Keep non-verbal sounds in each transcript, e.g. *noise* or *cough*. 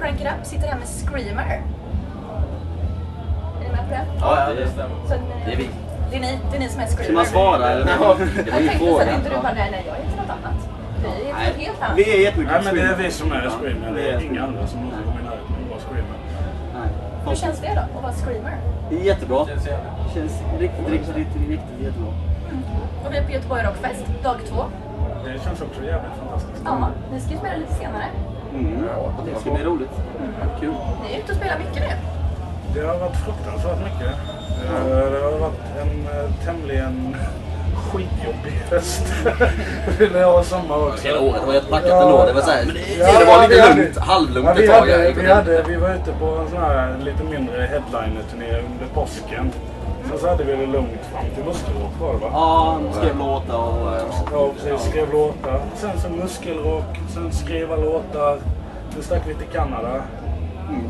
Crank It Up sitter här med Screamer. Är ni med på det? Ja, det stämmer. Så att ni, Det är vi. Det är ni, det är ni som är Screamer. Ska man svara eller? Ja. Det var Jag ju tänkte så att frågan. inte du bara, nej, nej, jag är inte något annat. Vi är Nej. något helt annat. Vi är jättemycket Nej, men det är Screamer. vi som är Screamer. Det Ja, är vi är inga andra som någonsin kommer i närheten av att vara Screamer. Nej. Hur känns det då, att vara Screamer? Det är jättebra. Känns jävligt. Känns riktigt, riktigt, riktigt, riktigt jättebra. Och vi är på Göteborg Rockfest, dag två. Det känns också jävligt fantastiskt. Ja, ni ska ju spela lite senare. Mm. Det ska bli roligt. Mm. Kul. Ni är ute och spelar mycket nu. Det har varit fruktansvärt mycket. Eh, Det har varit en eh, tämligen *laughs* skitjobbig höst. *laughs* Vi ville ha sommar också. Hela året har jag packat ändå. Det var såhär, det var vi lite hade- lugnt, halvlugnt ja, vi ett tag. Hade, Jag- vi, hade, vi var ute på en sån här lite mindre headliner-turné under påsken. Sen så hade vi det lugnt fram till Muskelrock var det va? Ja, skrev låtar och... eh, Ja, precis. Skrev låtar. Sen så muskelrock, sen skriva låtar. Sen stack vi till Kanada. Mm.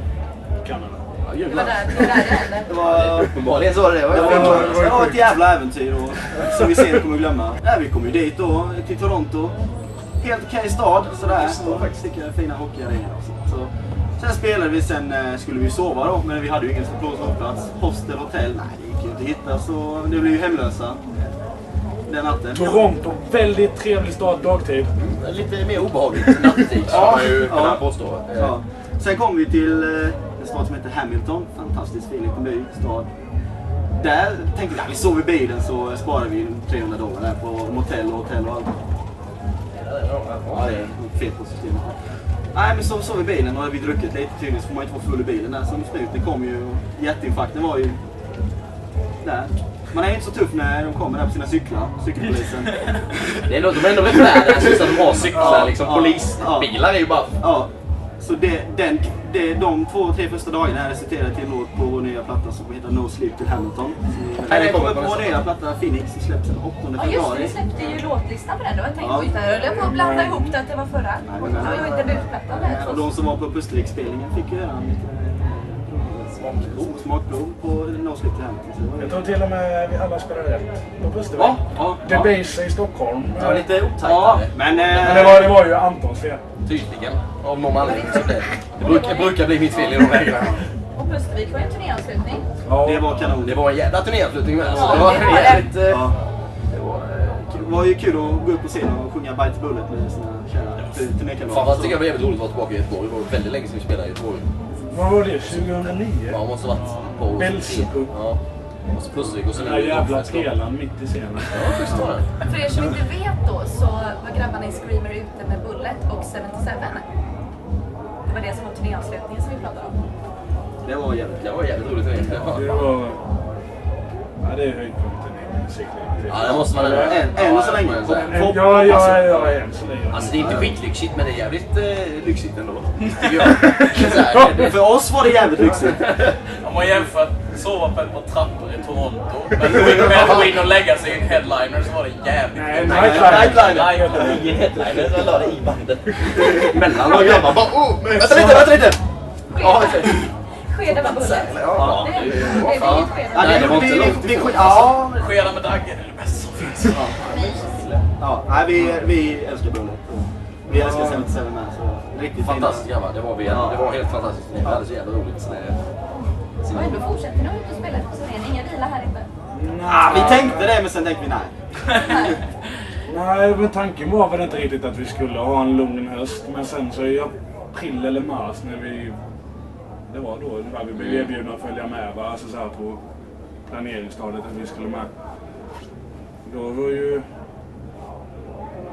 Kanada. Ja, Det jävlar. var där det var där det hände. Det var... Uppenbarligen så var det det. var- Det var- det var- det var Det var sjukt. ett jävla äventyr och, som vi sen kommer att glömma. Nej, vi kom ju dit då, till Toronto. Helt okej stad sådär. Och Tycker fina hockeyarenor och sånt. Så, sen spelade vi, sen eh, skulle vi sova då, men vi hade ju ingen sovplats. Hostel, hotell, nej det gick ju inte att hitta så det blev ju hemlösa den natten. Toronto. Väldigt trevlig stad dagtid. Lite mer obehagligt nattetid. Ja, det är ju kunna påstå. Eh, Ja. Sen kom vi till eh, en stad som heter Hamilton. Fantastiskt fin liten by, stad. Där tänkte vi att vi sov i bilen så sparade vi 300 dollar där på motell och hotell och allt. Ja, det är något fel på systemet. Nej, men så sov vi i bilen och vi druckit lite tydligen så får man ju inte vara full i bilen där. Så snuten kom ju och hjärtinfarkten var ju där. Man är ju inte så tuff när de kommer där på sina cyklar, cykelpolisen. *laughs* Det låter väl ändå rätt värdelöst just att de har cyklar. Ja, liksom, ja, polisbilar är ju bara... Ja, så det, den, det, de två, tre första dagarna här resulterade till en låt på vår nya platta som heter No Sleep Till Hamilton. Som- Nej, Den den kommer kommer på på vår nästa. nya platta Phoenix, som släpps den 8 Ja just det, februari. ni släppte ju låtlistan på den. Det var tänkt Ja. på inte höll jag på att blanda ihop det att det var förra. Det var ju inte debutplattan det Eh, här. Och de som var på Pustervik-spelningen fick ju redan lite eh, smakprov på No Sleep Till Hamilton. Så det var Jag tror till och med vi alla spelade rätt på Pustervik. Ja, ja, The ja. Base i Stockholm. det var lite otajtare. Ja, men... eh, Men det var, det var ju Antons fel. Tydligen. Av någon anledning så blev det. bruk- Det brukar bli mitt fel i de lägena. Och Pustervik var ju en turnéavslutning. det var kanon. Det var en jävla turnéavslutning med. Alltså. Ja, Det var det var det. jävligt... eh, Ja. Det var ju kul att gå upp på scenen och sjunga Bite the Bullet med sina kära turnékamrater. Framförallt tycker jag det var jävligt roligt att vara tillbaka i Göteborg. Det var väldigt länge sedan vi spelade i Göteborg. Vad var det? 2009? Ja, det måste ha varit på... Belsebo. Ja. Och så Pustervik och så Den nu... där jävla Rockfest då. pelaren mitt i scenen. Ja, schysst var det. För er som inte vet då så var grabbarna i Screamer ute med Bullet och 77. Det var det som var turnéavslutningen som vi pratade om. Det var jävligt Det var jävligt roligt. det. Det var- Det var... Ja, det är höjdpunkten i musiklivet. Ja, det måste man ändå... Än, än Ja, så det länge. får jag säga. Ja, ja, ja, ja, än så länge. Alltså det är inte skitlyxigt men det är jävligt eh, lyxigt *laughs* ändå. Tycker jag. Så här, det- För oss var det jävligt lyxigt. Om man jämför att sova på ett par trappor i Toronto med att gå in och lägga sig i en headliner så var det jävligt Nej, gött. Nightline. Nightliner. Ingen headliner. Jag la det i bandet. Mellan några grabbar bara oh, Vänta lite, vänta lite! Ja, Skeda- *laughs* Skeda med Bullet. ja. Nej, det är inget skeda. Nej, det var inte långt ifrån. Ja, men- Skeda med Dagge, det är det bästa som finns. ja, nej, vi, vi älskar Bullet. Vi älskar 77 med. Så riktigt Fantastiskt grabbar. Det var, vi, det Ja. var helt fantastiskt. Vi hade så jävla roligt. Så det- Och ändå fortsätter ni att ut och spela på scenen. Inga vila här inte. Ah, vi tänkte det, men sen tänkte vi nej. Nej, men tanken var väl inte riktigt att vi skulle ha en lugn höst. Men sen så i april eller mars när vi... Det var då ungefär vi blev erbjudna att följa med va? Alltså så här på planeringsstadiet att vi skulle med. Då var ju...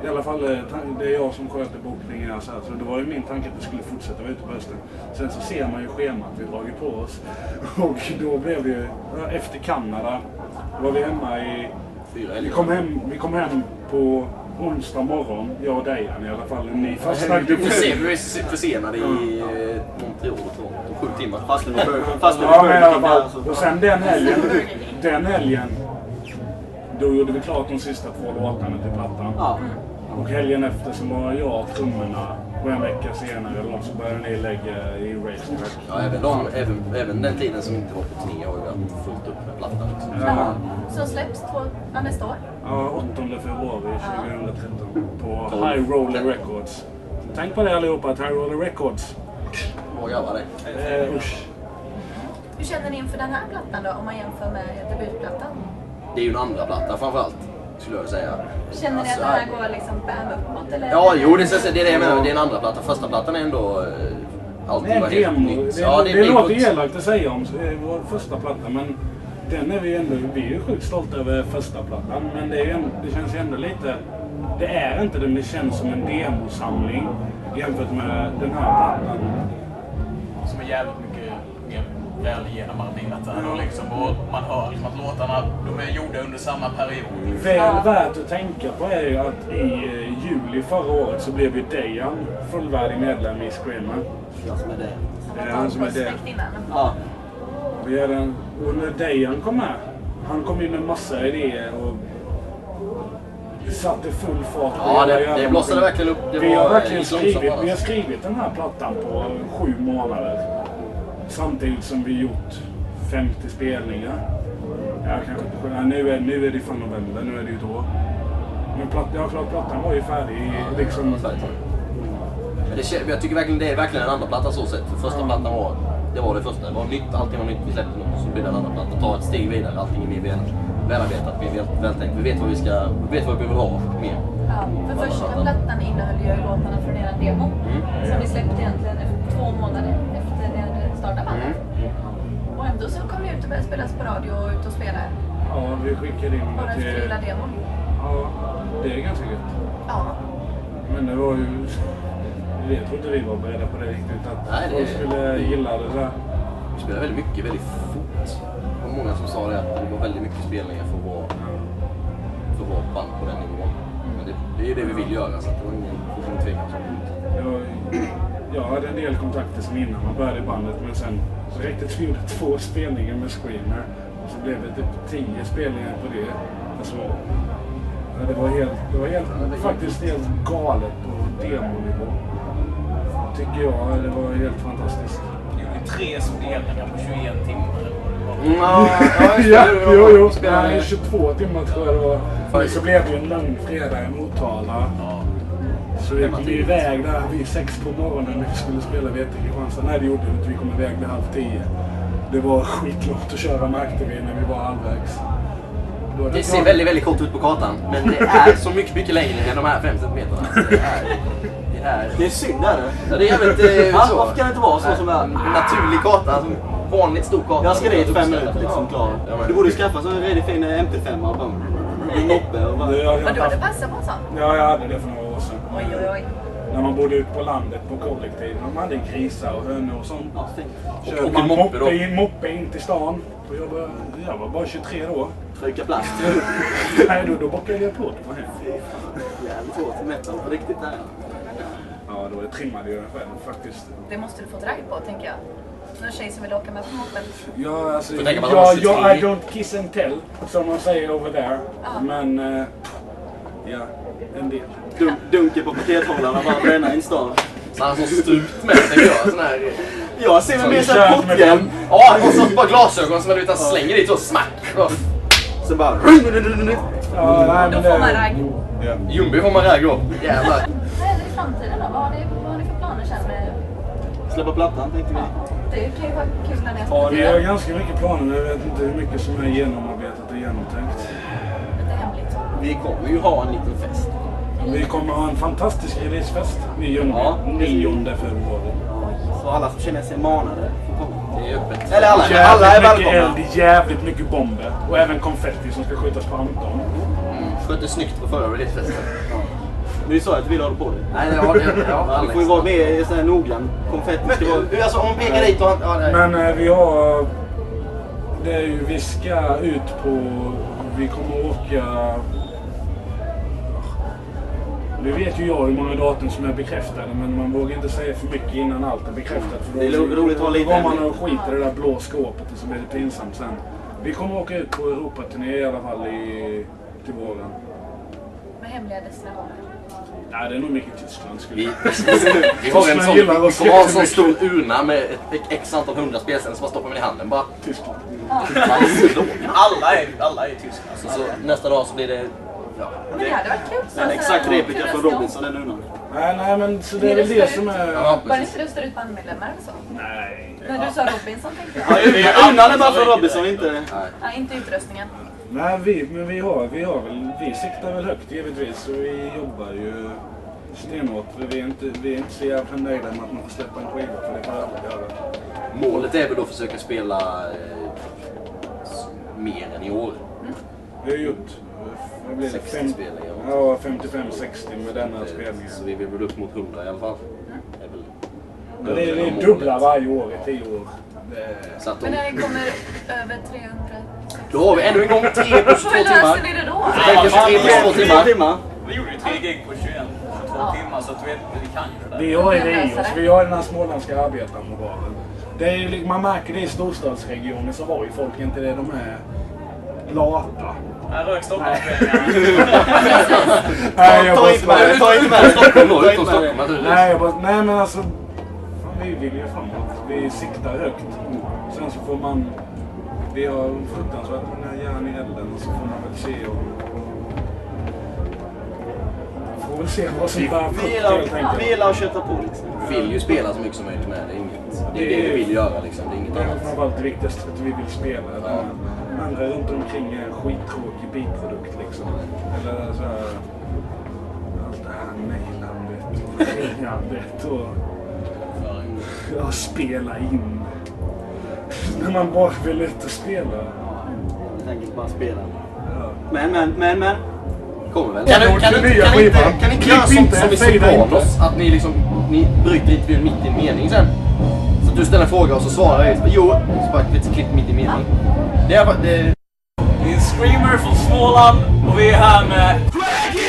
I alla fall eh, tan- det är jag som sköter bokningen här, så, här, så det var ju min tanke att vi skulle fortsätta vara ute på hösten. Sen så ser man ju schemat vi dragit på oss. *laughs* Och då blev det ju... ja, Efter Kanada var vi hemma i Fyra vi helger. kom, hem, vi kom hem på onsdag morgon, jag och Dejan i alla fall. Ni fastnade Vi får se, ju... vi är försenade i eh, Montreal och Toronto. Sju timmar. Fast det var Burger- fast det var Ja, men i Burger alla King där. alltså. fall. Och sen den helgen, den helgen, då gjorde vi klart de sista två låtarna till plattan. Ja, Och helgen efter så var jag trummorna. Och en vecka senare eller något så började ni lägga i Racetrack. Ja, även, de, även, även den tiden som inte var på turné har ju haft fullt upp med plattan. Liksom. Ja, Som släpps två, ja, nästa år. ja, 8 februari 2013 på High Roller Records. Tänk på det allihopa, att High Roller Records Vad gammal är Eh, usch. Hur känner ni inför den här plattan då, om man jämför med debutplattan? Det är ju en andra platta framförallt, skulle jag säga. Känner ni att Alltså, det här går liksom bam uppåt eller? Ja, jo det, är- det är det jag menar. Det är en andra platta. Första plattan är ändå... eh, Det Allting är var en helt demo. nytt. Det, Ja, det, det blir låter gott. elakt att säga om eh, vår första platta, men den är vi ändå... Vi är ju sjukt stolta över första plattan, men det, är, ju en- det känns ju ändå lite... Det är inte den, det känns som en demosamling jämfört med den här plattan. som är jävligt mycket mer väl genomarbetat. Och, liksom, och man hör liksom att låtarna de är gjorda under samma period. Väl värt att tänka på är ju att i eh, juli förra året så blev ju Dejan fullvärdig medlem i Screamer. Jag som är det. Som Det har är varit han som är prospect det. Innan. Ja. Vi är en, och när Dejan kom med, han kom in med massa idéer och satte full fart på Ja, hela det- jävla det blossade maskin. verkligen upp. Det vi, var, har eh, verkligen långsamt alltså. skrivit, bara. vi har skrivit den här plattan på sju månader. Samtidigt som vi gjort 50 spelningar. Ja, kanske inte sju. nej, Nu är, nu är det fan november, nu är det ju ett år. Men platt, ja, klart, plattan var ju färdig i liksom... typ. Men det, kän- jag tycker verkligen det är verkligen en andra platta så sett. För första plattan var, det var det första. Det var nytt, allting var nytt. Vi släppte något så blir det en andra platta. Ta ett steg vidare. Allting är mer väl, välarbetat, mer väl, vältänkt. Vi vet vad vi ska, vi vet vad vi behöver ha mer. Ja, för första plattan innehöll ju låtarna från era demo Mm. som ni släppte egentligen efter två månader efter ni hade startat Mm. bandet. Och ändå så kom ni ut och började spelas på radio och ut och spela Ja, vi skickade in bara det efter till... hela demon. Ja, det är ganska gött. Ja. Men det var ju... Jag tror inte vi var beredda på det riktigt. Att Nej, det- folk skulle gilla det där. Vi spelade väldigt mycket, väldigt fort. Det var många som sa det att det var väldigt mycket spelningar för att vara, för att vara ett band på den nivån. Men det, det är ju det vi vill göra så att det var ingen, det var ingen tvekan. Jag, jag hade en del kontakter som innan man började i bandet. Men sen så räckte det att vi gjorde två spelningar med Screamer. Och så blev det typ tio spelningar på det. Alltså, ja, det var, helt, det var helt, faktiskt helt galet på demonivå. Tycker jag. Det var helt fantastiskt. Det är ju tre spelningar på 21 timmar. eller vad det var. Mm, Ja, Mm, Ja, jo, jo. Nej, 22 timmar tror jag det var. Men så blev det ju en lång fredag i Motala. Ja. Så vi kom iväg där vid sex på morgonen när vi skulle spela VT Kristianstad. Nej, det gjorde vi inte. Vi kom iväg vid halv tio. Det var skitlångt att köra märkte vi när vi var halvvägs. Då hade Det ser jag- väldigt, väldigt kort ut på kartan, men det är så mycket, mycket längre än de här 5 centimeterna. Det är... Det är, Det är synd är det. ja, det är *laughs* jävligt eh, Ja, så. Ah. varför kan det inte vara så som det är? En naturlig karta, alltså vanligt stor karta. Jag ska dit fem Uppställda. minuter liksom klar. Ja, men- Du borde skaffa så en redig fin MT5 och bara... En noppe och bara... Ja, jag- Och du hade passat på en sån? Ja, jag hade det för några år sedan. Oj, oj, oj. När man bodde ute på landet på kollektiv. Man hade grisar och hönor och sånt. Ja, fint. Körde och man en moppe då. moppe in, moppe in till stan. Och jag, var, jag var bara 23 då. Trycka plast. Nej, då, då bockade jag på det. Vad hände? Jävligt hårt metal på riktigt där. Ja, då trimmade jag den själv faktiskt. Det måste du få drag på tänker jag. Någon tjej som vill åka med på moppen. Ja, alltså, För tänker man ja, måste ja, I till- don't kiss and tell, som man säger over there. Ja. Men, eh, ja, en del. Dunk, dunker på pakethållarna bara bränna in stan. Så han har sån strut med sig. gör sån här... Jag ser mig mer Kör såhär som en portjäl. Ja, och så bara glasögon som man utan slänger dit så smack. Och- Sen bara... Ja, nej, Då men får det- man ragg. Ja. Ljungby får man ragg då. Jävlar. Vad händer i framtiden då? Vad har ni, vad har ni för planer sen? med- Släppa plattan tänkte vi. Det kan ju vara kul när ni Ja, har vi har spelat. ganska mycket planer, men jag vet inte hur mycket som är genomarbetat och genomtänkt. Lite hemligt. Vi kommer ju ha en liten fest. Vi kommer ha en fantastisk releasefest i Ljungby, Ja. 9 februari. Så alla som känner sig manade får komma. Det är öppet. Eller alla, alla är Jävligt mycket välkomna. eld, jävligt mycket bomber och även konfetti som ska skjutas på Anton. Skötte Mm. snyggt på förra releasefesten. Men du sa att du ville hålla på det. Nej, det har det. Ja, Du får ju vara med i sån här noggrann. Konfetti ska vara... Men, alltså om man pekar dit och han... Ja, det Men eh, vi har... Det är ju, vi ska ut på... Vi kommer åka... Nu vet ju jag hur många datum som är bekräftade men man vågar inte säga för mycket innan allt är bekräftat. För Det är då- roligt att ha lite Då går man hemligt. och skiter i det där blå skåpet och så blir det pinsamt sen. Vi kommer åka ut på Europaturné i alla fall i, till våren. Med hemliga destinationer. Nej, det är nog mycket Tyskland skulle Vi, jag vi har en sån, vi gillar oss kommer ha en sån jättemycket. stor urna med ett x antal hundra spelställen som man stoppar med i handen bara. Alltså, Tyskland. Man är så låg. Alla är, alla är tyska. Så, så nästa Alltså, dag så blir det Ja. Men det hade varit kul. Alltså, så Den att exakt säga, replika från till nästa Robinson, den undan. Nej, nej, men så det är Ni väl det röstar som ut. är... Ja, gång. Var det precis. inte du står ut bandmedlemmar eller så? Nej. När du sa Robinson tänkte jag. Ja, undan är bara från Robinson, inte... Nej. Nej, inte utröstningen. Nej, vi, men vi har, vi har väl, vi siktar väl högt givetvis och vi jobbar ju stenhårt. för Vi är inte, vi är inte så jävla nöjda med att man får släppa en skiva för det kan jag aldrig göra. Målet är väl då att försöka spela eh, s- mer än i år. Vi har gjort, eh, vad blir det? 60 Fem- spelningar. Ja, 55-60 med denna Eh, spelningen. Så vi vill väl upp mot 100 i alla fall. Det är väl Men det är, det målet. är dubbla varje år i tio år. Det är... Så att Men om, när det kommer över 300... då har vi ännu en *laughs* gång 3 plus 2 Hur löser ni timmar. det då? Nej, kanske 3 plus 2 Tre timmar. timmar. Vi gjorde ju tre gig på 21, 22 Ja. timmar så att vi, vi kan ju det där. Vi har ju det i oss. Vi har den här småländska arbetarmoralen. Det är, ju li- man märker det i storstadsregioner så har ju folk inte det. De är lata. Här rök Stockholmsspelningarna. Nej, jag Ta bara inte med skojar. dig, ta inte med dig Stockholm då, Ta utom inte med Stockholm dig. naturligtvis. Nej, jag bara, nej men alltså. Fan, vi vill ju framåt. Vi siktar högt. Sen så får man... Vi har fruktansvärt många järn i elden och så får man väl se och... Man får väl se vad som bär frukt helt Vila, enkelt. vila och köta på liksom. Vi vill ju spela så mycket som möjligt med. Det är, inget, det, är det vi vill göra liksom. Det är inget Det är annat. framförallt det viktigaste att vi vill spela. Ja. Andra runt omkring är en skittråkig biprodukt liksom. Eller så här... Allt det här mejlandet och ringandet och... Ja, spela in. När man bara vill ut och spela. Helt enkelt bara spela. Ja. Men, men, men, men. Kommer väl. Kan du- kan du- Den nya kan ni inte, skivan. kan ni inte Klipp göra sånt inte, som i säg det inte. Sopranos? Att ni liksom, ni bryter intervjun mitt i en mening sen. Så att du ställer en fråga och så svarar jag. Jo, så bara ett klipp mitt i mening. Det är, det, Vi är en screamer från Småland och vi är här med... Craig